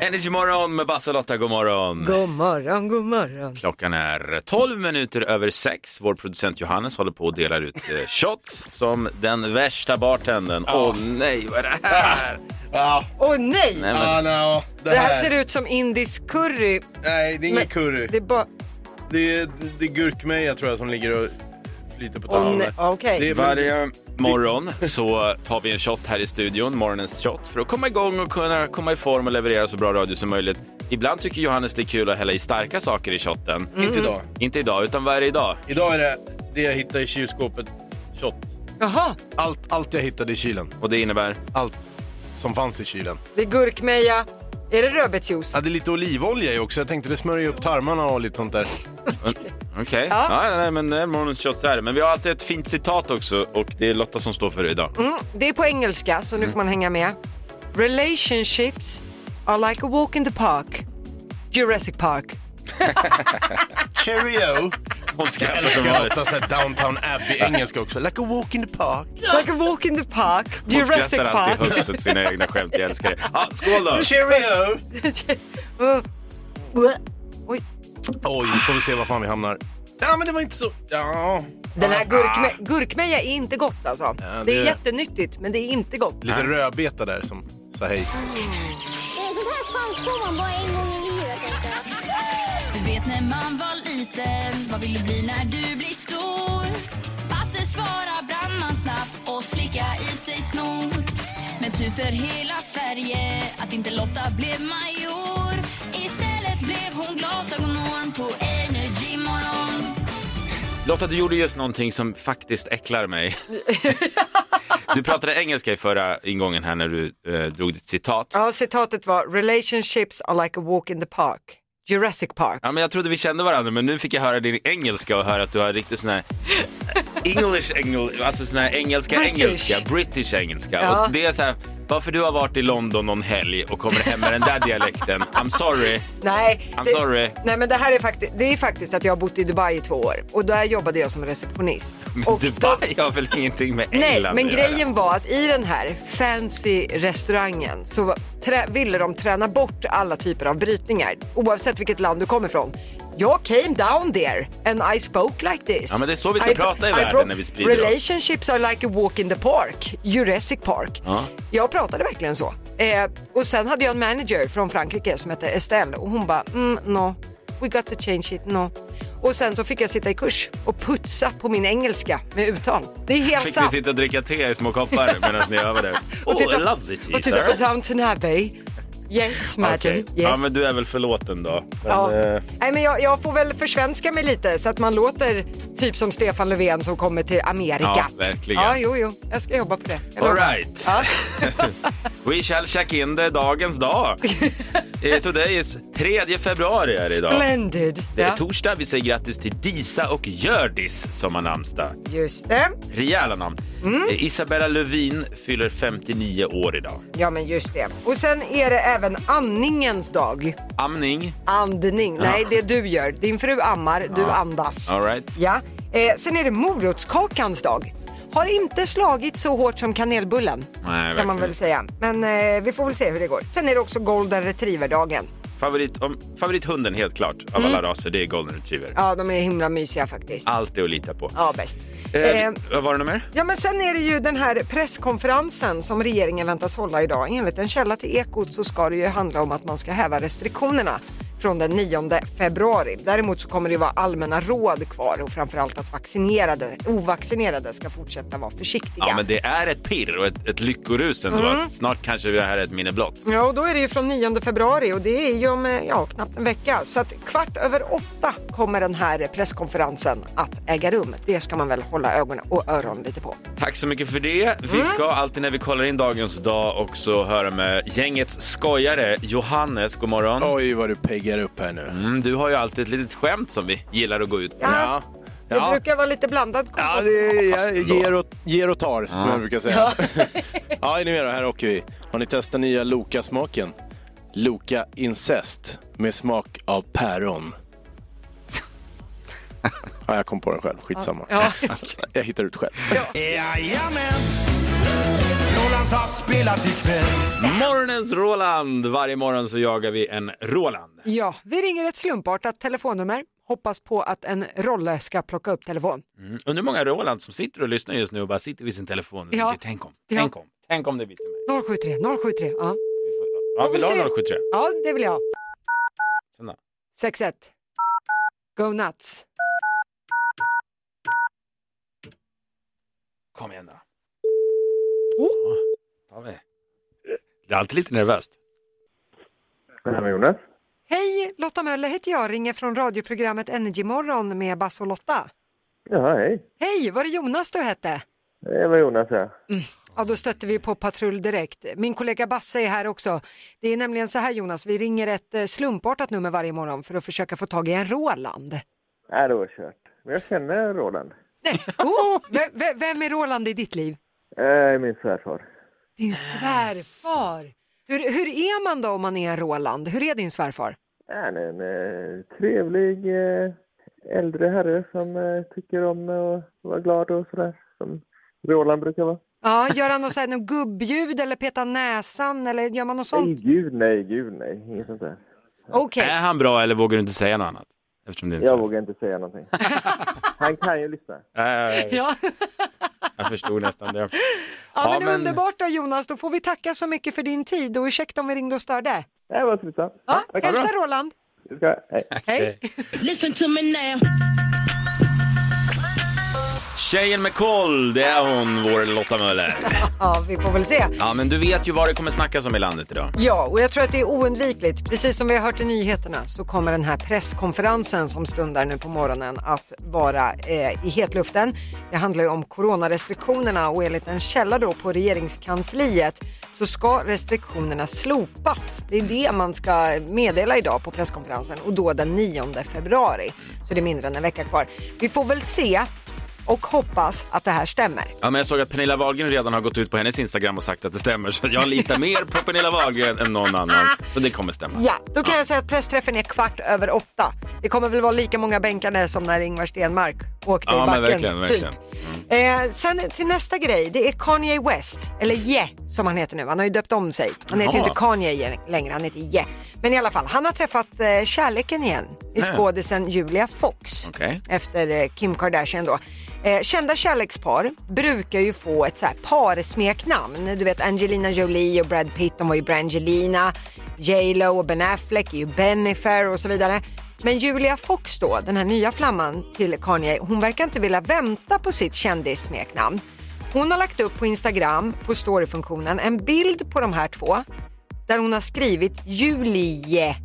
Energy morgon med Basse och Lotta, god morgon. God morgon, god morgon. Klockan är 12 minuter över 6. Vår producent Johannes håller på och delar ut eh, shots som den värsta bartenden. Åh nej, vad är det Ah, här? Ja, Åh nej! Nej, ah, men, no, det, Det här ser ut som indisk curry. Nej, det Men- är ingen curry. Det är bara... Det är, det är gurkmeja tror jag som ligger och flyter på Åh tavlan. nej, okej. Det är väl- varje morgon så tar vi en shot här i studion, morgonens shot, för att komma igång och kunna komma i form och leverera så bra radio som möjligt. Ibland tycker Johannes det är kul att hälla i starka saker i shotten. Mm. Inte idag. Inte idag, utan varje dag. Idag är det det jag hittade i kylskåpet, shot. Jaha, Allt, allt jag hittade i kylen. Och det innebär? Allt som fanns i kylen. det är gurkmeja. Är det rödbetsjuice? Jag hade lite olivolja i också. Jag tänkte det smörjer upp tarmarna och lite sånt där. Okej, Ja. ja. nej, nej, men det är morgonens shot så är det. Men vi har alltid ett fint citat också och det är Lotta som står för det idag. Mm, det är på engelska, så nu får man hänga med. Relationships are like a walk in the park. Jurassic Park. Cheerio! Hon skrattar som Älskar vanligt. Lotta såhär Downtown Abbey-engelska också. Like a walk in the park. Like a walk in the park. Hon Jurassic skrattar Park. alltid högst åt sina egna skämt, jag älskar det. Ja, skål då! Cheerio! Uh, Oj. Oj, nu får vi se var fan vi hamnar. Ja, men det var inte så... Ja... Den här gurkme- gurkmeja är inte gott alltså. Ja, Det är det- jättenyttigt, men det är inte gott. Lite rödbeta där som sa hej. Det är sånt här chans får man bara en gång i livet. tänker jag. Du vet när man var liten, vad vill du bli när du blir stor? Basse svara brandman snabbt och slicka i sig snor. Men tur för hela Sverige att inte Lotta blev major. Istället blev hon glasögonorm på Energy morgon. Lotta, du gjorde just någonting som faktiskt äcklar mig. Du pratade engelska i förra ingången här när du eh, drog ditt citat. Ja, citatet var Relationships are like a walk in the park. Jurassic Park. Ja, men jag trodde vi kände varandra, men nu fick jag höra din engelska och höra att du har riktigt sån här English, engel, alltså sån här engelska, British. engelska, British engelska. Ja. Och det är så här, varför du har varit i London någon helg och kommer hem med den där dialekten, I'm sorry. Nej, I'm det, sorry. nej men det här är, fakti- det är faktiskt att jag har bott i Dubai i två år och där jobbade jag som receptionist. Men och då- Dubai har väl ingenting med Nej, England men att göra? grejen var att i den här fancy restaurangen så var- trä- ville de träna bort alla typer av brytningar oavsett vilket land du kommer ifrån. Jag came down there and I spoke like this. Ja, men det är så vi ska prata i världen pro- när vi sprider oss. Relationships are like a walk in the park, Jurassic Park. Ja. Jag pratade verkligen så. Eh, och sen hade jag en manager från Frankrike som hette Estelle och hon bara mm, no, we got to change it, no. Och sen så fick jag sitta i kurs och putsa på min engelska med uttal. Det är helt Fick sant. ni sitta och dricka te i små koppar medan ni övade? Och titta- oh, I love the tea, Och titta på sir. Downton Abbey. Yes, madam. Okej. Yes. Ja, men du är väl förlåten då? Men, Ja. eh, Nej, men jag, jag får väl försvenska mig lite så att man låter typ som Stefan Löfven som kommer till Amerika. Ja, verkligen. Ja, jo, jo. Jag ska jobba på det. Jag All lovar. right. Ja. We shall check in the dagens dag. Eh, Today is 3 februari är det idag. Splendid. Det är Ja, torsdag. Vi säger grattis till Disa och Hjördis som har namnsdag. Just det. Rejäla namn. Mm. Eh, Isabella Lövin fyller 59 år idag. Ja, men just det. Och sen är det även andningens dag. Amning. Andning. Nej, det du gör. Din fru ammar, du andas. All right. Ja. Eh, sen är det morotskakans dag. Har inte slagit så hårt som kanelbullen. kan verkligen man väl inte. säga. Men eh, vi får väl se hur det går. Sen är det också golden retriever-dagen. Favorit, om, favorithunden helt klart av alla raser, det är golden retriever. Mm. Ja, de är himla mysiga faktiskt. Alltid att lita på. Ja, bäst. Eh, Eh, vad var det något mer? Ja men sen är det ju den här presskonferensen som regeringen väntas hålla idag. Enligt en källa till Ekot så ska det ju handla om att man ska häva restriktionerna från den 9 februari. Däremot så kommer det ju vara allmänna råd kvar och framförallt att vaccinerade, ovaccinerade ska fortsätta vara försiktiga. Ja, men det är ett pirr och ett, ett lyckorus ändå. Mm. Att snart kanske det här är ett minne blott. Ja, och då är det ju från 9 februari och det är ju om eh, ja, knappt en vecka. Så att kvart över åtta kommer den här presskonferensen att äga rum. Det ska man väl hålla ögonen och öronen lite på. Tack så mycket för det. Vi Mm. ska alltid när vi kollar in dagens dag också höra med gängets skojare Johannes. God morgon. Oj, vad du peggar upp här nu. Mm, du har ju alltid ett litet skämt som vi gillar att gå ut på. Ja, det Ja. brukar vara lite blandad Ja, kompost. det är, fast jag ändå. ger, och, ger och tar, som jag brukar säga. ja, är ni med då? Här åker vi. Har ni testat nya Loka-smaken? Loka Incest med smak av päron. Ja, jag kom på den själv. Skitsamma. Ja. Jag hittar ut själv. Jajamän! Nolla Rolands har spelat ikväll. Morgonens Roland! Varje morgon så jagar vi en Roland. Ja, vi ringer ett slumpartat telefonnummer. Hoppas på att en Rolle ska plocka upp telefon. Mm. Undrar hur många Roland som sitter och lyssnar just nu och bara sitter vid sin telefon och Ja. tänker tänk om, Ja. tänk om, tänk om det blir till mig. 073, 073. Ja, Ja, vill du se. ha 073? ja det vill jag ha. Sen då? 6-1. Go nuts. Kom igen då. Oh. Ja, tar vi. Det är alltid lite nervöst. Hej, Lotta Möller heter jag. Ringer från radioprogrammet Energymorgon med Bass och Lotta. Ja, hej. Hej, var det Jonas du hette? Det var Jonas här. Ja, då stötte vi på patrull direkt. Min kollega Basse är här också. Det är nämligen så här Jonas, vi ringer ett eh, slumpartat nummer varje morgon för att försöka få tag i en Roland. Nej, Äh, det var kört. Men jag känner Roland. Nej, oh, ve- ve- vem är Roland i ditt liv? Eh, min svärfar. Din svärfar. Hur, hur är man då om man är en Roland? Hur är din svärfar? Äh, Han är en eh, trevlig eh, äldre herre som eh, tycker om eh, att vara glad och sådär. Som Roland brukar vara. Ja, gör han något, så här, något gubbljud eller petar näsan eller gör man något Nej, sånt? gud nej, gud nej. Inget sånt där. Okej, Är han bra eller vågar du inte säga något annat? Eftersom det är en Jag svärfar. vågar inte säga någonting. Han kan ju lyssna. Nej, ja. jag förstod nästan det. ja, Ja, men men- underbart då Jonas, då får vi tacka så mycket för din tid och ursäkta om vi ringde och störde. Det var Äh, trivsamt. Ja, tack. hälsa Roland. Vi ska- hej. Hej. Tjejen med koll, det är hon, vår Lotta Möller. Ja, vi får väl se. Ja, men du vet ju vad det kommer snackas om i landet idag. Ja, och jag tror att det är oundvikligt. Precis som vi har hört i nyheterna så kommer den här presskonferensen som stundar nu på morgonen att vara eh, i hetluften. Det handlar ju om coronarestriktionerna och enligt en källa då på regeringskansliet så ska restriktionerna slopas. Det är det man ska meddela idag på presskonferensen och då den 9 februari. Så det är mindre än en vecka kvar. Vi får väl se och hoppas att det här stämmer. Ja, men jag såg att Pernilla Wahlgren redan har gått ut på hennes Instagram och sagt att det stämmer. Så jag litar mer på Pernilla Wahlgren än någon annan. Så det kommer stämma. Ja, då kan jag säga att pressträffen är kvart över åtta. Det kommer väl vara lika många bänkar där som när Ingvar Stenmark åkte Ja, i men backen. verkligen, verkligen. Typ. Eh, sen till nästa grej, det är Kanye West, eller Ye som han heter nu. Han har ju döpt om sig. Han heter ju Jaha. inte Kanye längre, han heter Ye. Men i alla fall, han har träffat eh, kärleken igen i Nej. skådisen Julia Fox Okej. efter eh, Kim Kardashian då. Eh, kända kärlekspar brukar ju få ett så här parsmeknamn. Du vet Angelina Jolie och Brad Pitt, de var ju Brangelina. J.Lo och Ben Affleck är ju Benifer och så vidare. Men Julia Fox då, den här nya flamman till Kanye, hon verkar inte vilja vänta på sitt kändissmeknamn. Hon har lagt upp på Instagram, på storyfunktionen, en bild på de här två där hon har skrivit Julie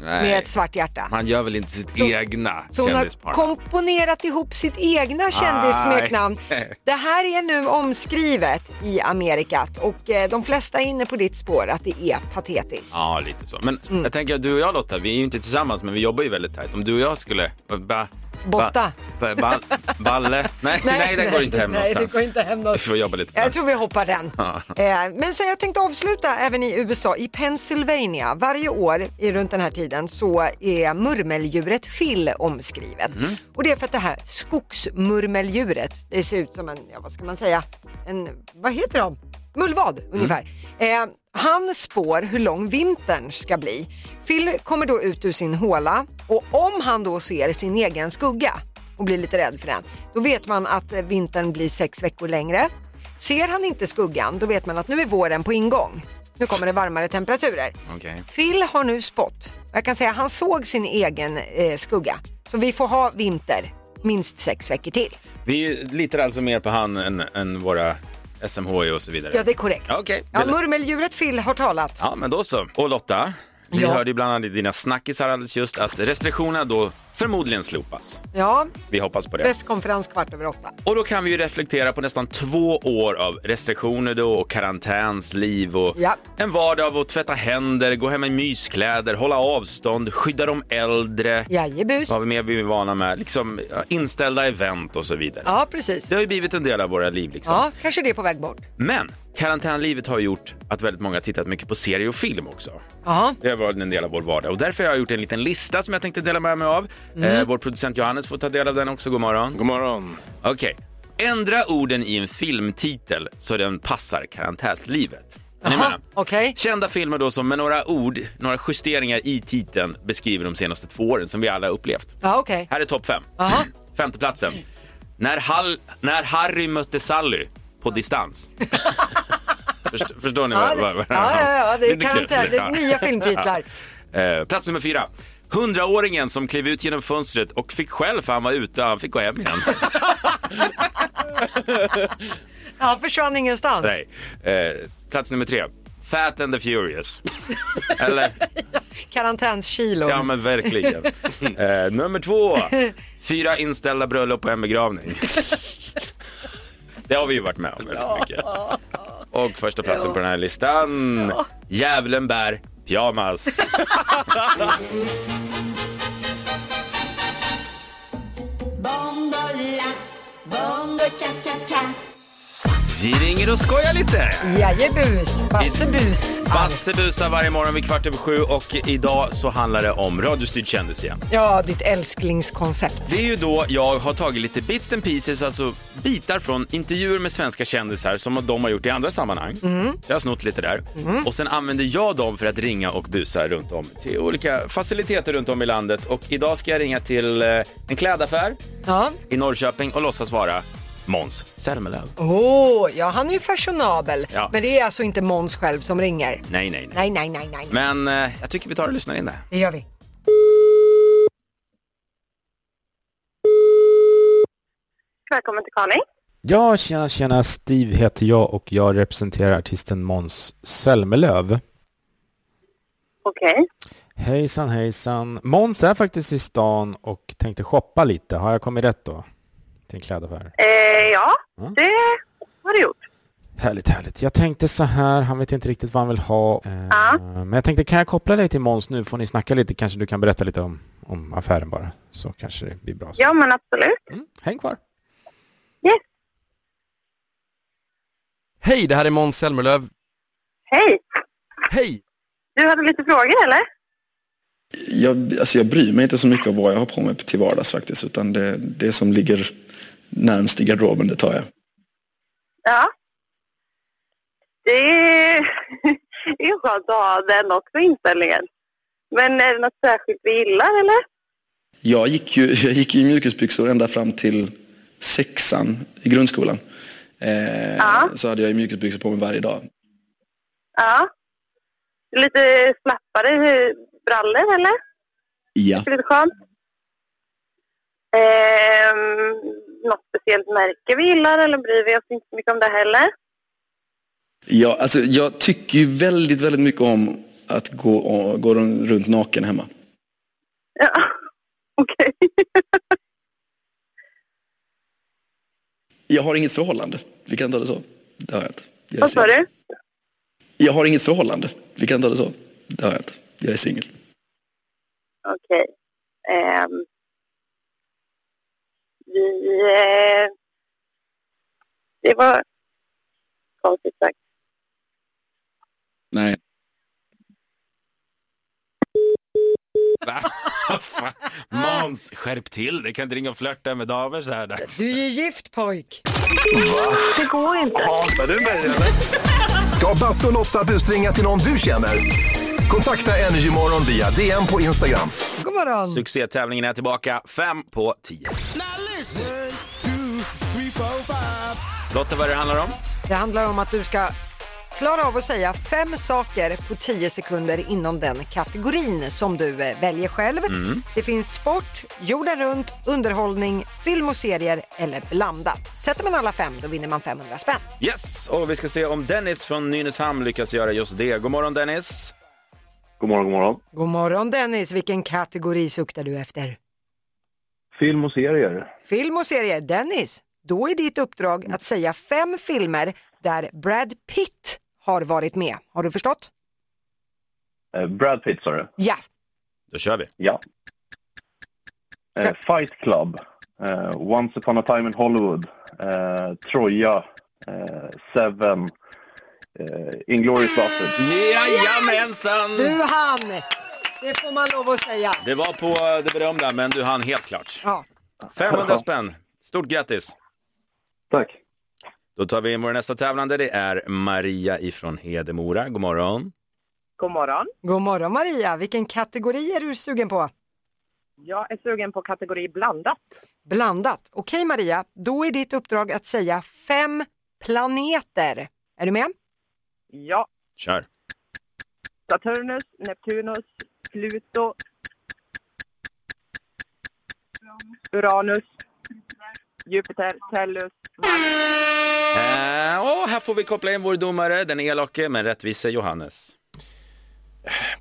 med Nej. ett svart hjärta. Man gör väl inte sitt Så- egna Så hon har kändispar? komponerat ihop sitt egna kändissmeknamn. Nej. Det här är nu omskrivet i Amerika och eh, de flesta är inne på ditt spår att det är patetiskt. Ja, lite så. Men Mm. jag tänker att du och jag Lotta, vi är ju inte tillsammans men vi jobbar ju väldigt tajt. Om du och jag skulle... Ba, ba, Botta. Ba, ba, balle. Nej, nej, det går inte hem nej, någonstans. det går inte hem någonstans. Vi får jobba lite på Jag det. tror vi hoppar den. Eh, Men sen jag tänkte avsluta även i USA, i Pennsylvania. Varje år i runt den här tiden så är murmeldjuret fill omskrivet. Och det är för att det här skogsmurmeldjuret, det ser ut som en, ja vad ska man säga, en, vad heter de? Mullvad ungefär. Eh, han spår hur lång vintern ska bli. Phil kommer då ut ur sin håla och om han då ser sin egen skugga och blir lite rädd för den, då vet man att eh, vintern blir sex veckor längre. Ser han inte skuggan, då vet man att nu är våren på ingång. Nu kommer det varmare temperaturer. Okej. Phil har nu spått. Jag kan säga att han såg sin egen eh, skugga. Så vi får ha vinter minst sex veckor till. Vi litar alltså mer på han än, än våra SMHI och så vidare. Ja, det är korrekt. Ja, okej. Ja, murmeldjuret Phil har talat. Ja, men då så. Och Lotta, vi Ja. hörde ju bland annat i dina snackisar alldeles just att restriktionerna då förmodligen slopas. Ja, Vi hoppas på det. presskonferens kvart över åtta. Och då kan vi ju reflektera på nästan två år av restriktioner då och karantänsliv och Ja. en vardag av att tvätta händer, gå hem i myskläder, hålla avstånd, skydda de äldre. Jajebus. Vad vi mer vi är vana med, liksom ja, inställda event och så vidare. Ja, precis. Det har ju blivit en del av våra liv liksom. Ja, kanske det är på väg bort. Men karantänlivet har gjort att väldigt många har tittat mycket på serie och film också. Ja, Det har varit en del av vår vardag och därför har jag gjort en liten lista som jag Mm. tänkte dela med mig av. Eh, vår producent Johannes får ta del av den också. God morgon. God morgon. Okej, Ändra orden i en filmtitel så den passar karantänslivet. Är ni Jaha, med? Okej. Kända filmer då som med några ord, några justeringar i titeln beskriver de senaste två åren som vi alla har upplevt. Ja, okej. Här är topp fem. Jaha. Femteplatsen. När, Hall, när Harry mötte Sally på distans. Först, förstår ni Ja, vad det- vad- ja, vad- ja, ja, det är Lite kul. karantän. Det är Ja. nya filmtitlar. Eh, plats nummer fyra. Hundraåringen som klev ut genom fönstret och fick själv för han var ute, han fick gå hem igen. Han försvann ingenstans. Nej. Eh, plats nummer tre. Fat and the Furious. Eller? Karantänskilon. Ja men verkligen. Eh, nummer två. Fyra inställda bröllop och en begravning. Det har vi ju varit med om väldigt mycket. Och första platsen på den här listan. Djävulen bär pyjamas. Bondola, bongo cha-cha-cha Vi ringer och skojar lite. Jajebus, bassebus. Basse busar varje morgon vid kvart över sju och idag så handlar det om radiostyrd kändis igen. Ja, ditt älsklingskoncept. Det är ju då jag har tagit lite bits and pieces, alltså bitar från intervjuer med svenska kändisar som de har gjort i andra sammanhang. Mm. Jag har snott lite där. Och sen använder jag dem för att ringa och busa runt om till olika faciliteter runt om i landet. Och idag ska jag ringa till eh, en klädaffär Ja. i Norrköping och låtsas vara Måns Zelmerlöw. Åh, ja han är ju fashionabel. Ja. Men det är alltså inte Måns själv som ringer. Nej, nej, nej. Nej, nej, nej, nej. nej. Men eh, jag tycker vi tar och lyssnar in det. Det gör vi. Välkommen till Kaning. Ja, tjena, tjena. Steve heter jag och jag representerar artisten Måns Zelmerlöw. Okej. Hejsan, hejsan. Måns är faktiskt i stan och tänkte shoppa lite. Har jag kommit rätt då? Till en klädaffär. Eh, ja, Mm. det har du gjort. Härligt, härligt. Jag tänkte så här, han vet inte riktigt vad han vill ha. Eh, Men jag tänkte, kan jag koppla dig till Måns nu? Får ni snacka lite? Kanske du kan berätta lite om, om affären bara. Så kanske det blir bra. Ja, men absolut. Mm, häng kvar. Yes. Hej, det här är Måns Zelmerlöw. Hej! Hej! Du hade lite frågor, eller? Jag, alltså jag bryr mig inte så mycket om vad jag har på mig till vardags faktiskt. Utan det, det som ligger närmst i garderoben, det tar jag. Ja. Det är det är skönt att ha den också, inställningen. Men är det något särskilt vi gillar, eller? Jag gick ju, jag gick ju i mjukisbyxor ända fram till sexan i grundskolan. Eh, Ja. Så hade jag ju mjukisbyxor på mig varje dag. Ja. Lite slappare brallor, eller? Ja. Det är lite skönt. Ehm, något speciellt märke vi gillar, eller bryr vi oss inte så mycket om det heller? Ja, alltså jag tycker ju väldigt, väldigt mycket om att gå, och- gå runt naken hemma. Ja, okej. Jag har inget förhållande. Vi kan ta det så. Det har jag inte. Jag är Vad sa singel. du? Jag har inget förhållande. Vi kan ta det så. Det har jag inte. Jag är singel. Okej. Ehm, vi... Eh, det var konstigt sagt. Nej, Va? Fan. Måns, skärp till Det kan inte ringa och flörta med damer så här dags. Du är ju gift pojk. Det går inte. Ska Basse och Lotta busringa till någon du känner? Kontakta Energymorgon via DM på Instagram. God morgon. Succétävlingen är tillbaka, fem på tio. Lotta, vad är det handlar om? Det handlar om att du ska klara av att säga fem saker på tio sekunder inom den kategorin som du eh, väljer själv. Mm. Det finns sport, jorden runt, underhållning, film och serier eller blandat. Sätter man alla fem då vinner man 500 spänn. Yes, och vi ska se om Dennis från Nynäshamn lyckas göra just det. God morgon Dennis! God morgon, god morgon. God morgon Dennis, vilken kategori suktar du efter? Film och serier. Film och serier. Dennis, då är ditt uppdrag att säga fem filmer där Brad Pitt har varit med. Har du förstått? Eh, Brad Pitt sa du? Ja. Då kör vi. Ja. Eh, Fight Club. Eh, Once upon a time in Hollywood. Eh, Troja. Eh, Seven. Eh, Inglourious Basterds. Du Jajamensan! han! Det får man lov att säga. Det var på det berömda, men du hann helt klart. Ja. 500 spänn. Stort grattis! Tack. Då tar vi in vår nästa tävlande. Det är Maria ifrån Hedemora. God morgon. God morgon. God morgon Maria, vilken kategori är du sugen på? Jag är sugen på kategori blandat. Blandat. Okej Maria, då är ditt uppdrag att säga fem planeter. Är du med? Ja, Kör. Saturnus, Neptunus, Pluto, Uranus, Jupiter, Tellus. Eh, och här får vi koppla in vår domare, den elake men rättvise Johannes.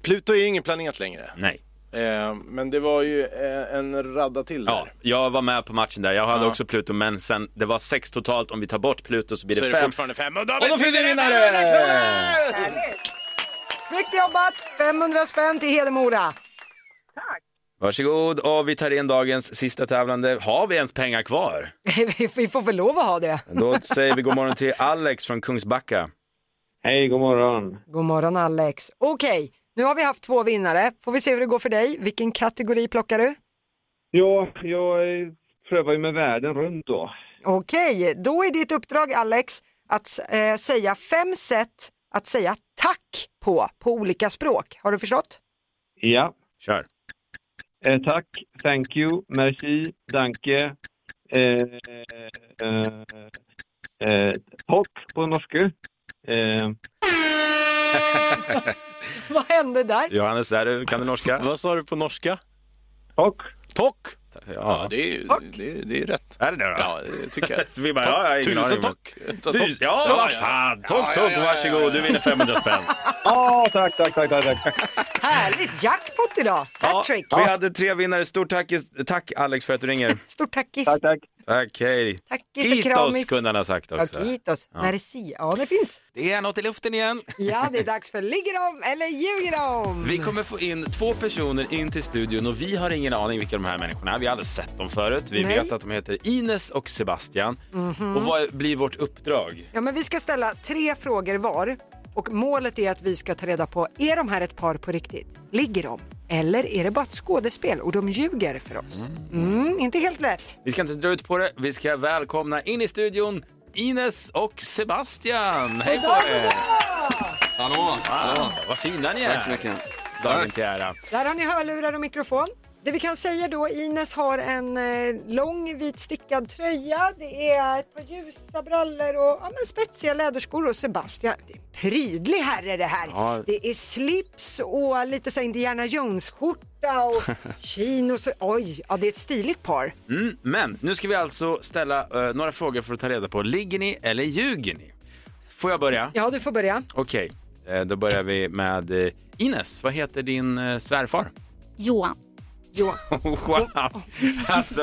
Pluto är ju ingen planet längre. Nej. Eh, men det var ju eh, en radda till där. Ja, jag var med på matchen där. Jag hade Ja. också Pluto, men sen det var sex totalt. Om vi tar bort Pluto så blir Så det är det fem. fortfarande fem. Och då, Och då får vi vinnare! Snyggt jobbat! 500 spänn till Hedemora. Varsågod och vi tar in dagens sista tävlande. Har vi ens pengar kvar? Vi- Vi får väl lov att ha det. Då säger vi god morgon till Alex från Kungsbacka. Hej, god morgon. God morgon Alex. Okej, nu har vi haft två vinnare. Får vi se hur det går för dig. Vilken kategori plockar du? Ja, jag eh, prövar ju med världen runt då. Okej, då är ditt uppdrag Alex att eh, säga fem sätt att säga tack på, på olika språk. Har du förstått? Ja. Kör. Eh, tack, thank you, merci, danke, eh, eh, eh, topp på norska. Eh, Vad hände där? Johannes, är du, kan du norska? Vad sa du på norska? Tock. Tock? Ja, Ja, det är ju det, är- det är rätt. Är det det då? Ja, det tycker jag. Så vi bara, ja, jag har ingen Tusen aning, men- tock. Tus- Ja, vad fan! Tock, tock, varsågod, du vinner 500 spänn. Ja, tack, tack, tack, tack, tack. Härligt jackpot idag! Hattrick! Vi hade tre vinnare. Stort tack, tack Alex för att du ringer. Stort tackis! Tack, tack. Tack, hej. Tackis och Kitos kramis! kunde han ha sagt Ja, också. kitos. Ja. Merci. Ja, det finns. Det är något i luften igen. Ja, det är dags för Ligger de eller ljuger de? Vi kommer få in två personer in till studion och vi har ingen aning vilka de här människorna är. Vi har aldrig sett dem förut. Vi Nej. vet att de heter Ines och Sebastian. Mhm. Och vad blir vårt uppdrag? Ja, men vi ska ställa tre frågor var och målet är att vi ska ta reda på, är de här ett par på riktigt? Ligger de? Eller är det bara ett skådespel och de ljuger för oss? Mm, inte helt lätt. Vi ska inte dra ut på det. Vi ska välkomna in i studion Ines och Sebastian. Hej på er! Hallå! Wow, vad fina ni är! Tack så mycket. Dagen Tack. till ära. Där har ni hörlurar och mikrofon. Det vi kan säga då, Ines har en eh, lång vit stickad tröja, det är ett par ljusa brallor och ja, men spetsiga läderskor och Sebastian, det är en prydlig herre det här. Ja. Det är slips och lite så här Indiana Jones-skjorta och chinos. och- Oj, ja det är ett stiligt par. Mm, men nu ska vi alltså ställa eh, några frågor för att ta reda på, ligger ni eller ljuger ni? Får jag börja? Ja, du får börja. Okej, eh, då börjar vi med eh, Ines. Vad heter din eh, svärfar? Johan. Johan. wow! Alltså,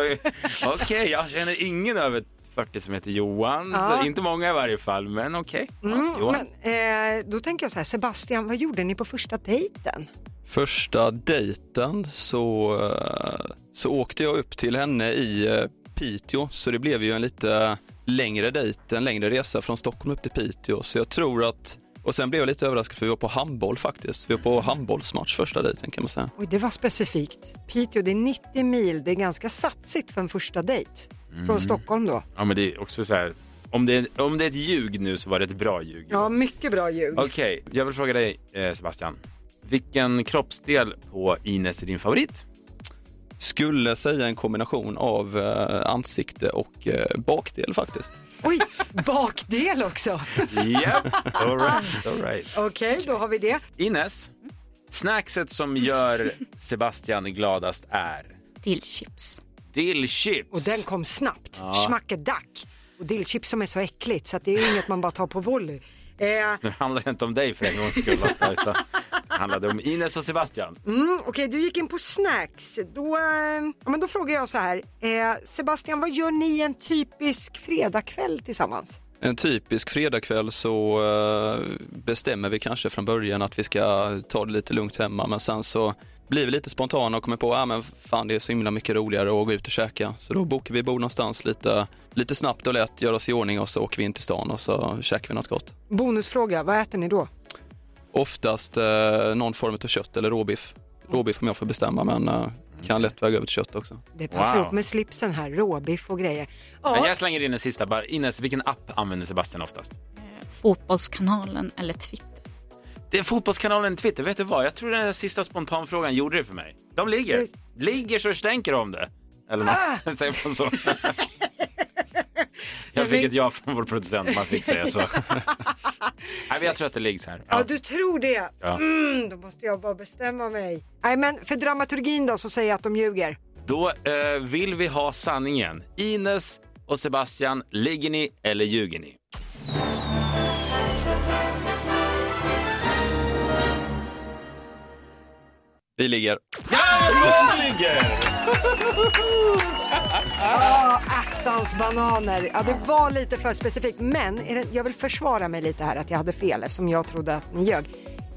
okej, jag känner ingen över 40 som heter Johan. Ja. Så inte många i varje fall, men okej. Mm, Ja, Johan. men, eh, då tänker jag så här, Sebastian, vad gjorde ni på första dejten? Första dejten så, eh, så åkte jag upp till henne i eh, Piteå så det blev ju en lite längre dejt, en längre resa från Stockholm upp till Piteå så jag tror att och sen blev jag lite överraskad för vi var på handboll faktiskt. Vi var på handbollsmatch första dejten kan man säga. Oj, det var specifikt. Piteå, det är 90 mil, det är ganska satsigt för en första dejt. Från Mm. Stockholm då. Ja, men det är också så här, om det är, om det är ett ljug nu så var det ett bra ljug. Ja, mycket bra ljug. Okej, jag vill fråga dig eh, Sebastian. Vilken kroppsdel på Ines är din favorit? Skulle säga en kombination av eh, ansikte och eh, bakdel faktiskt. Oj, bakdel också. Japp, all right, all right. Okej, då har vi det. Ines, snackset som gör Sebastian gladast är? Dillchips. Dillchips. Och den kom snabbt. Ja. Schmackedack. Och dillchips som är så äckligt så att det är inget man bara tar på volley. Eh, Nu handlar det inte om dig för en gångs skull, Lotta, utan det handlade om Ines och Sebastian. Mm, Okej, du gick in på snacks. Då, eh, ja, men då frågar jag så här. Eh, Sebastian, vad gör ni en typisk fredagkväll tillsammans? En typisk fredagkväll så eh, bestämmer vi kanske från början att vi ska ta det lite lugnt hemma men sen så blir vi lite spontana och kommer på att ah, men fan det är så himla mycket roligare att gå ut och käka. Så då bokar vi bord någonstans lite, lite snabbt och lätt, gör oss i ordning och så åker vi in till stan och så käkar vi något gott. Bonusfråga, vad äter ni då? Oftast eh, någon form av kött eller råbiff. Råbiff om jag får bestämma, men eh, kan lätt väga över till kött också. Det passar ihop med slipsen här, råbiff och grejer. Men Ja, jag slänger in en sista bara. Ines, vilken app använder Sebastian oftast? Fotbollskanalen eller Twitter. Det är fotbollskanalen Twitter. Vet du vad? Jag tror den här sista spontanfrågan gjorde det för mig. De ligger. Ligger så stänker om det. Eller nåt. Säger man så? jag fick ett ja från vår producent. Man fick säga så. Nej, men jag tror att det ligger så här. ja, du tror det. Ja. Mm, då måste jag bara bestämma mig. Nej, men för dramaturgin då så säger jag att de ljuger. Då eh, vill vi ha sanningen. Ines och Sebastian, ligger ni eller ljuger ni? Vi ligger. Ja, attans bananer. Ja, det var lite för specifikt. Men är det, jag vill försvara mig lite här att jag hade fel eftersom jag trodde att ni ljög.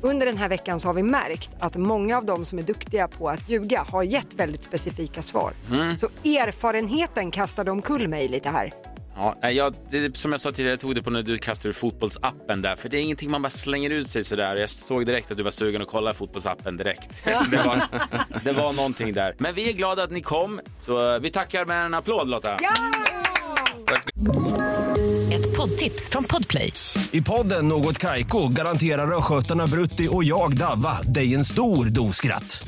Under den här veckan så har vi märkt att många av dem som är duktiga på att ljuga har gett väldigt specifika svar. Mm. Så erfarenheten kastade omkull mig lite här. Ja, nej, jag, det, som jag sa tidigare, jag tog det på när du kastade ur fotbollsappen där. För det är ingenting man bara slänger ut sig sådär. Jag såg direkt att du var sugen att kolla fotbollsappen direkt. det, var, det var någonting där. Men vi är glada att ni kom, så eh, vi tackar med en applåd Lotta. Ett poddtips från Podplay. I podden Något Kaiko garanterar östgötarna Brutti och jag, Davva, dig en stor dos skratt.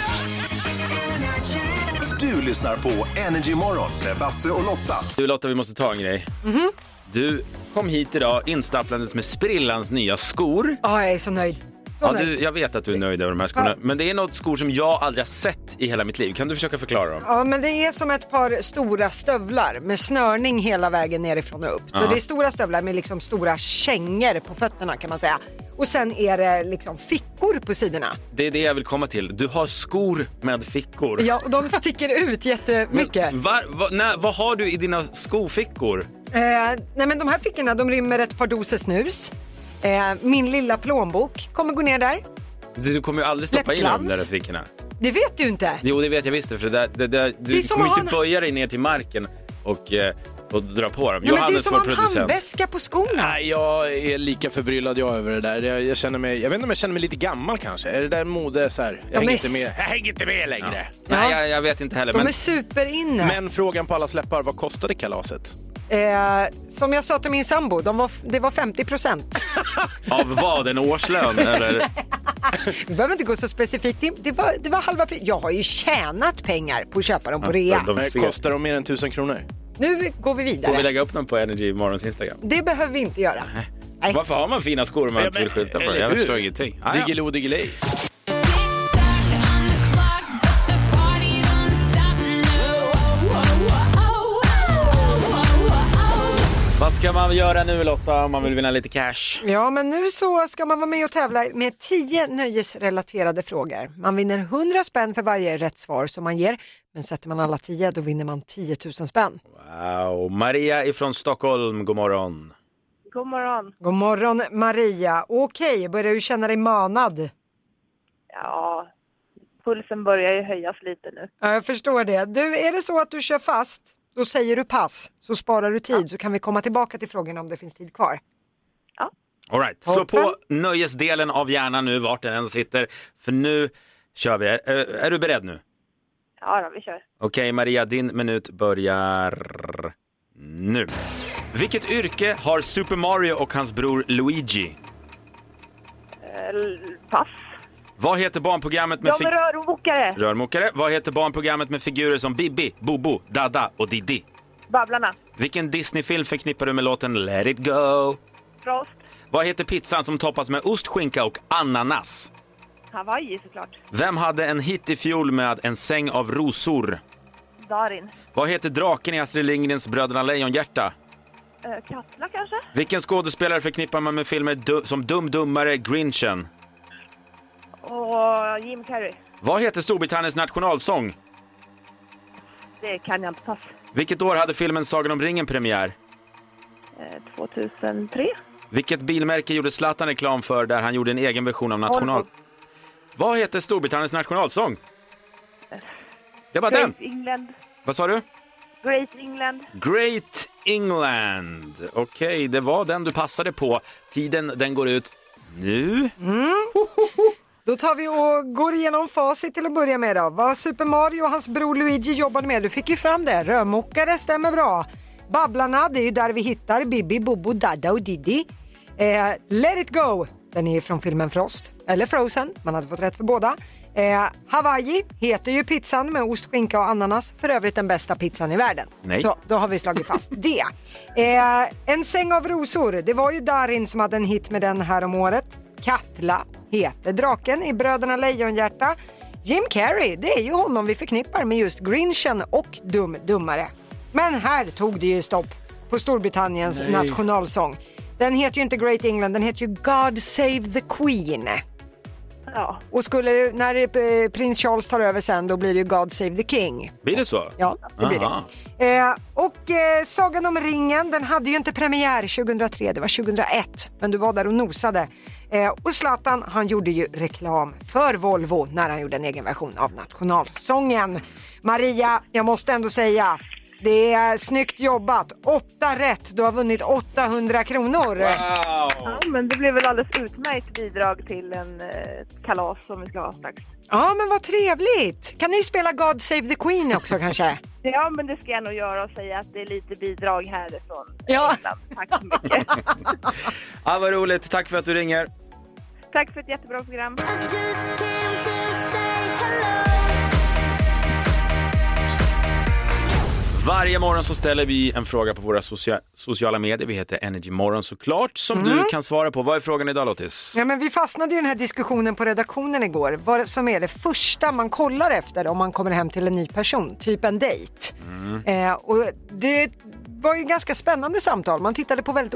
Du lyssnar på Energy Morgon med Basse och Lotta. Du Lotta, vi måste ta en grej. Du kom hit idag instapplandes med sprillans nya skor. Ja, jag är så nöjd. Så Ja, nöjd. du, jag vet att du är nöjd över de här skorna, men det är något skor som jag aldrig har sett i hela mitt liv. Kan du försöka förklara dem? Ja, men det är som ett par stora stövlar med snörning hela vägen nerifrån och upp. Så Ja. det är stora stövlar med liksom stora kängor på fötterna kan man säga. Och sen är det liksom fickor på sidorna. Det är det jag vill komma till. Du har skor med fickor. Ja, och de sticker ut jättemycket. Var, va, när, vad har du i dina skofickor? Eh, nej, men de här fickorna de rymmer ett par doser snus. Eh, min lilla plånbok kommer gå ner där. Du, du kommer ju aldrig stoppa in dem Läppglans. där i fickorna. Det vet du inte. Jo, det vet jag visst. För det där, det där, Det du är som kommer ju att inte ha böja dig ner till marken och, eh, och dra på dem. Ja, men det är Johannes, som vår att ha en producent. handväska på skorna. Nej, jag är lika förbryllad jag över det där. Jag, jag känner mig, jag vet inte om jag känner mig lite gammal kanske. Är det där mode så här? Jag Ja, hänger men- inte med. Jag hänger inte med längre. Nej, jag, jag vet inte heller. De Men är superinne. Men frågan på alla släppar, vad kostade kalaset? Eh, som jag sa till min sambo, de var, f- det var 50 procent. av vad? En årslön? eller? Vi behöver inte gå så specifikt in. Det var, det var halva pris. Jag har ju tjänat pengar på att köpa dem på rea. Nej, Kostar de mer än 1000 kronor? Nu går vi Får vi vidare. lägga upp dem på Energy Morgons Instagram? Det behöver vi inte göra. Varför har man fina skor om man inte vill skylta på det? Jag förstår ingenting. Ah, ja. Diggiloo diggiley. Vad ska man göra nu Lotta om man vill vinna lite cash? Ja, men nu så ska man vara med och tävla med 10 nöjesrelaterade frågor. Man vinner 100 spänn för varje rätt svar som man ger. Men sätter man alla 10 då vinner man 10 000 spänn. Wow. Maria ifrån Stockholm, god morgon. God morgon. God morgon Maria. Okej, börjar du känna dig manad? Ja, pulsen börjar ju höjas lite nu. Ja, jag förstår det. Du, är det så att du kör fast, då säger du pass, så sparar du tid så kan vi komma tillbaka till frågan om det finns tid kvar. All right. Slå på nöjesdelen av hjärnan nu, vart den än sitter. För nu kör vi. Är, är du beredd nu? Ja, då, vi kör. Okej, Maria, din minut börjar nu. Vilket yrke har Super Mario och hans bror Luigi? Eh, l- Pass. Vad heter barnprogrammet med De är rörmokare. Rörmokare. Vad heter barnprogrammet med figurer som Bibi, Bobo, Dada och Didi? Babblarna. Vilken Disney-film förknippar du med låten Let it go? Frost. Vad heter pizzan som toppas med ost, skinka och ananas? Hawaii såklart. Vem hade en hit i fjol med En säng av rosor? Darin. Vad heter draken i Astrid Lindgrens Bröderna Lejonhjärta? Eh, Katla kanske? Vilken skådespelare förknippar man med filmer du- som Dum Dummare, Grinchen? Och Jim Carrey. Vad heter Storbritanniens nationalsång? Det kan jag inte. Pass. Vilket år hade filmen Sagan om ringen premiär? eh, 2003. Vilket bilmärke gjorde Zlatan reklam för där han gjorde en egen version av national... Vad heter Storbritanniens nationalsång? Det var den! Great England. Vad sa du? Great England. Great England. Okej, det var den du passade på. Tiden den går ut nu. Mm. Då tar vi och går igenom facit till att börja med då. Vad Super Mario och hans bror Luigi jobbade med, du fick ju fram det. Rörmokare stämmer bra. Babblarna, det är ju där vi hittar Bibi, Bobo, Dada och Didi. Eh, Let it go, den är ju från filmen Frost, eller Frozen, man hade fått rätt för båda. Eh, Hawaii heter ju pizzan med ost, skinka och ananas, för övrigt den bästa pizzan i världen. Nej. Så, då har vi slagit fast det. Eh, en säng av rosor, det var ju Darin som hade en hit med den här om året. Katla heter draken i Bröderna Lejonhjärta. Jim Carrey, det är ju honom vi förknippar med just Grinchen och Dum Dummare. Men här tog det ju stopp på Storbritanniens Nej. nationalsång. Den heter ju inte Great England, den heter ju God Save the Queen. Ja. Och skulle, det- när eh, prins Charles tar över sen, då blir det ju God Save the King. Blir det så? Ja, det blir det. Aha. Eh, och eh, Sagan om ringen, den hade ju inte premiär 2003, det var 2001, men du var där och nosade. Eh, och Zlatan, han gjorde ju reklam för Volvo när han gjorde en egen version av nationalsången. Maria, jag måste ändå säga, det är snyggt jobbat. Åtta rätt, du har vunnit 800 kronor. Ja, men det blev väl alldeles utmärkt bidrag till en eh, kalas som vi ska ha strax. Ja, men vad trevligt. Kan ni spela God Save the Queen också kanske? Ja, men det ska jag nog göra och säga att det är lite bidrag härifrån. Ja. Tack så mycket. Ah, vad roligt, tack för att du ringer. Tack för ett jättebra program. Varje morgon så ställer vi en fråga på våra socia- sociala medier. Vi heter Energymorgon såklart, som Mm. du kan svara på. Vad är frågan idag Lottis? Ja, men vi fastnade ju i den här diskussionen på redaktionen igår, vad som är det första man kollar efter om man kommer hem till en ny person, typ en dejt. Mm. Eh, och det var ju ganska spännande samtal, man tittade på väldigt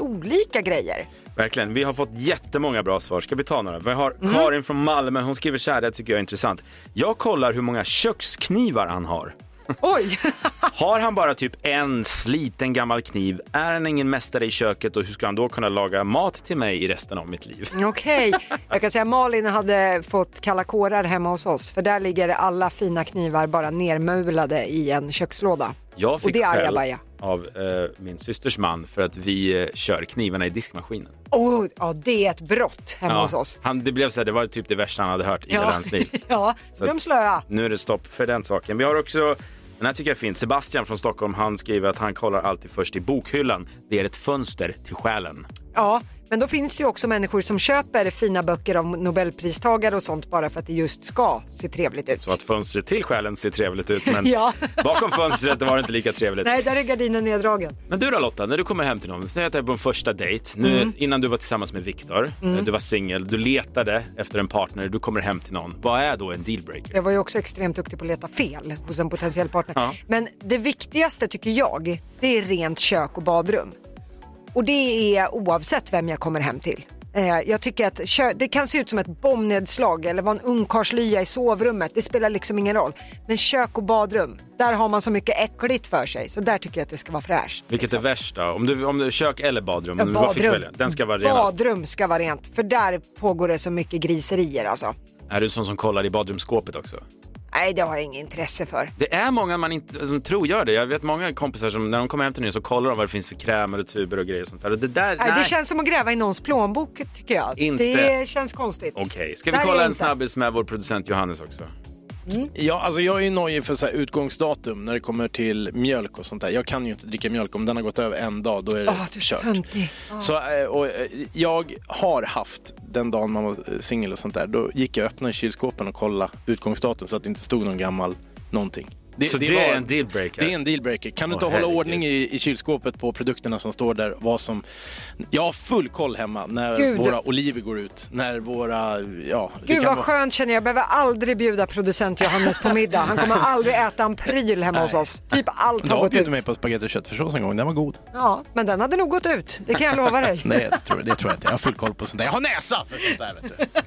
olika grejer. Verkligen, vi har fått jättemånga bra svar. Ska vi ta några? Vi har Mm. Karin från Malmö, hon skriver så här, det tycker jag är intressant. Jag kollar hur många köksknivar han har. Oj! har han bara typ en sliten gammal kniv, är han ingen mästare i köket och hur ska han då kunna laga mat till mig i resten av mitt liv? Okej, jag kan säga Malin hade fått kalla kårar hemma hos oss för där ligger alla fina knivar bara nermulade i en kökslåda. Jag och fick det är skäll ajabaja. av eh, min systers man för att vi eh, kör knivarna i diskmaskinen. Oh, ja, det är ett brott hemma hos oss. Han, det blev så här, det var typ det värsta han hade hört i hela hans liv. ja, Så de att- slöa. Nu är det stopp för den saken. Vi har också, den här tycker jag är fin, Sebastian från Stockholm, han skriver att han kollar alltid först i bokhyllan. Det är ett fönster till själen. Ja, men då finns det ju också människor som köper fina böcker av nobelpristagare och sånt bara för att det just ska se trevligt ut. Så att fönstret till själen ser trevligt ut, men Ja. bakom fönstret var det inte lika trevligt. Nej, där är gardinen neddragen. Men du då Lotta, när du kommer hem till någon, säg att det är på en första dejt, nu, Mm. innan du var tillsammans med Viktor, eh, Mm. du var singel, du letade efter en partner, du kommer hem till någon. Vad är då en dealbreaker? Jag var ju också extremt duktig på att leta fel hos en potentiell partner. Ja. Men det viktigaste tycker jag, det är rent kök och badrum. Och det är oavsett vem jag kommer hem till. Eh, Jag tycker att kö- det kan se ut som ett bombnedslag eller vara en ungkarlslya i sovrummet. Det spelar liksom ingen roll. Men kök och badrum, där har man så mycket äckligt för sig. Så där tycker jag att det ska vara fräscht. Vilket är värst då? Om du, om du, kök eller badrum? Ja, Men vad fick du badrum. välja? Den ska vara renast. Badrum ska vara rent, för där pågår det så mycket griserier alltså. Är du sån som kollar i badrumsskåpet också? Nej, det har jag inget intresse för. Det är många man inte, som tror gör det. Jag vet många kompisar som när de kommer hem till nu så kollar de vad det finns för krämer och tuber och grejer och sånt där. Och det där, Nej, det känns som att gräva i någons plånbok tycker jag. Inte. Det känns konstigt. Okej, ska vi Där är kolla jag en inte. snabbis med vår producent Johannes också? Ja, alltså jag är ju nojig för så här utgångsdatum när det kommer till mjölk och sånt där. Jag kan ju inte dricka mjölk. Om den har gått över en dag, då är det Åh, Ah, du är så kört. töntig. Ja. Så, eh, och, eh, jag har haft, den dagen man var eh, singel och sånt där, då gick jag och öppnade kylskåpen och kollade utgångsdatum så att det inte stod någon gammal någonting. Så det är en dealbreaker? Det är en dealbreaker. Kan du Åh, inte hålla herregud. ordning i, i kylskåpet på produkterna som står där? Vad som... Jag har full koll hemma när Gud. våra oliver går ut, när våra... Ja, det Gud kan vad vara- skönt känner jag. Jag behöver aldrig bjuda producent Johannes på middag. Han kommer aldrig äta en pryl hemma hos oss. Typ allt har Jag gått bjöd ut. mig på spagetti och köttfärssås en gång, den var god. Ja, men den hade nog gått ut. Det kan jag lova dig. Nej, det tror, jag, det tror jag inte. Jag har full koll på sånt där. Jag har näsa för sånt där, vet du.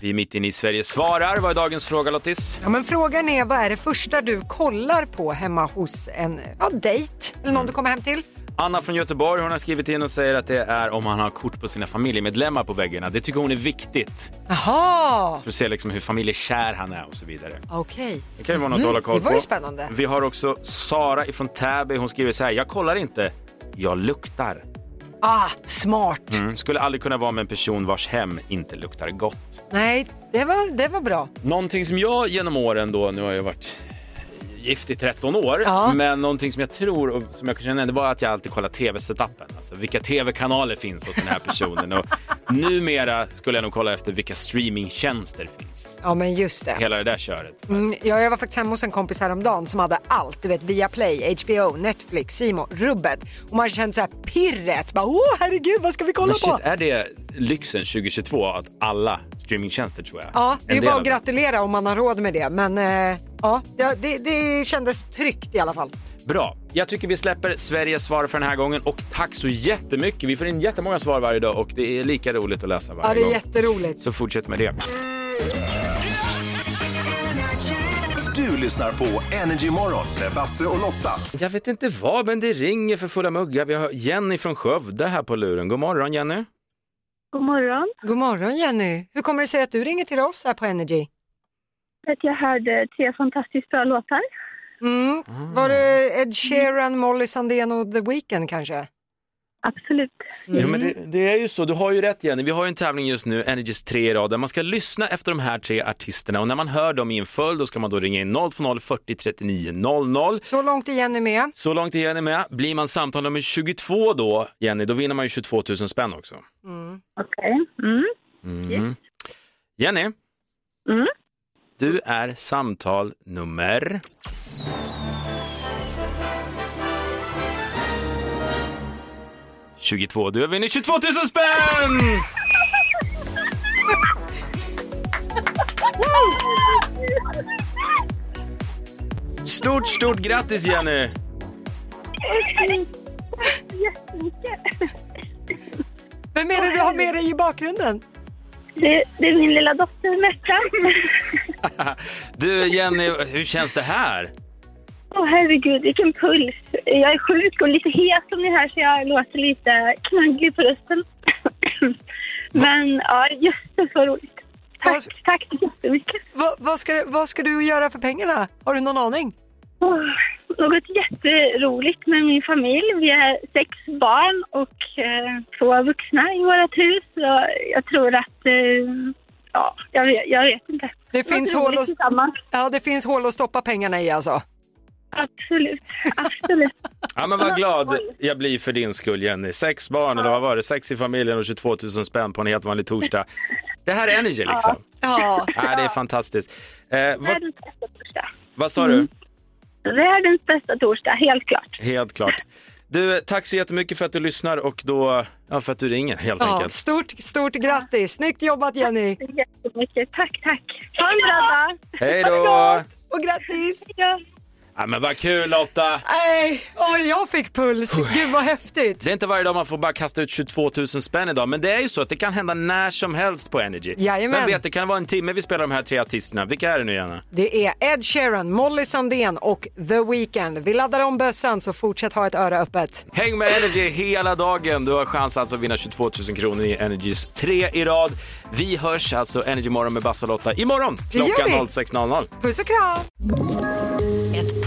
Vi är mitt inne i Sverige svarar. Vad är dagens fråga Lottis? Ja, men frågan är Mm. vad är det första du kollar på hemma hos en ja, dejt eller någon du kommer hem till? Anna från Göteborg hon har skrivit in och säger att det är om man har kort på sina familjemedlemmar på väggarna. Det tycker hon är viktigt Jaha, för att se liksom hur familjekär han är och så vidare. okej. Det kan ju vara något att hålla koll Mm, Det var ju på. spännande. Vi har också Sara ifrån Täby. Hon skriver så här. Jag kollar inte, jag luktar. Ah, smart. Mm. Skulle aldrig kunna vara med en person vars hem inte luktar gott. Nej, det var, det var bra. Någonting som jag genom åren då, nu har jag varit gift i 13 år, Ja. men någonting som jag tror och som jag kan känna det var att jag alltid kollar tv-setupen. Alltså vilka tv-kanaler finns hos den här personen och numera skulle jag nog kolla efter vilka streamingtjänster finns. Ja, men just det. Hela det där köret. Mm, ja, jag var faktiskt hemma hos en kompis häromdagen som hade allt. Du vet Viaplay, HBO, Netflix, Simo, rubbet. Och man kände så här pirret. Bara, Åh herregud, vad ska vi kolla Men på? shit, är det lyxen 2022 att alla streamingtjänster tror jag? Ja, det En är del bara av att det. gratulera om man har råd med det. Men eh, ja, ja, det, det kändes tryggt i alla fall. Bra. Jag tycker vi släpper Sveriges svar för den här gången och tack så jättemycket. Vi får in jättemånga svar varje dag och det är lika roligt att läsa varje Ja, det är gång. jätteroligt. Så fortsätt med det. Du lyssnar på Energy Morgon med Basse och Lotta. Jag vet inte vad, men det ringer för fulla muggar. Vi har Jenny från Skövde här på luren. God morgon Jenny. God morgon. God morgon Jenny. Hur kommer det sig att du ringer till oss här på Energy? För att jag hörde tre fantastiskt bra låtar. Mm. Ah. Var det Ed Sheeran, Molly Sandén och The Weeknd kanske? Absolut. Jo, men det, det är ju så, du har ju rätt Jenny. Vi har ju en tävling just nu, Energys tre i rad, där man ska lyssna efter de här tre artisterna och när man hör dem i en följd då ska man då ringa in 020 40 39 00. Så långt är Jenny med. Så långt är Jenny med. Blir man samtal nummer 22 då, Jenny, då vinner man ju 22 000 spänn också. Okej. Mm. Mm. Jenny, du är samtal nummer... ...22. Du har vunnit 22 000 spänn! Stort, stort grattis Jenny! Okej. Tack så jättemycket. Vem är det du har med dig i bakgrunden? Det, det är min lilla dotter Märta. Du Jenny, hur känns det här? Åh herregud, vilken puls. Jag är sjuk och lite het som ni hör så jag låter lite knagglig på rösten. Men ja, jösses vad roligt. Tack, tack så jättemycket. Va, vad, ska, du- vad ska du göra för pengarna? Har du någon aning? Åh, Något jätteroligt med min familj. Vi är sex barn och eh, två vuxna i vårt hus. Så jag tror att... Eh, ja, jag vet, jag vet inte. Det finns, hål roligt att, ja, det finns hål att stoppa pengarna i alltså. Absolut. Absolut. Ja men vad glad jag blir för din skull Jenny. Sex barn eller vad var det? Sex i familjen och 22 000 spänn på en helt vanlig torsdag. Det här är energy liksom. Ja. Ja, det är fantastiskt. Eh, vad, Världens bästa torsdag. vad sa Mm. du? Världens bästa torsdag, helt klart. Helt klart. Du, tack så jättemycket för att du lyssnar och då, ja, för att du ringer helt Ja, enkelt. stort, stort grattis! Snyggt jobbat Jenny! Tack så jättemycket. Tack, tack. Ha en bra dag. Hej då! Och grattis! Ja, men vad kul Lotta! Nej, oj jag fick puls. Gud vad häftigt. Det är inte varje dag man får bara kasta ut 22 000 spänn idag, men det är ju så att det kan hända när som helst på Energy. Jajamän. Men vet, det kan vara en timme vi spelar de här tre artisterna. Vilka är det nu Jenna? Det är Ed Sheeran, Molly Sandén och The Weeknd. Vi laddar om bössan så fortsätt ha ett öra öppet. Häng med Energy hela dagen. Du har chans alltså att vinna 22 000 kronor i Energys tre i rad. Vi hörs alltså Energy morgon med Basse och Lotta imorgon Det gör klockan vi. 06.00. Puss och kram! Ett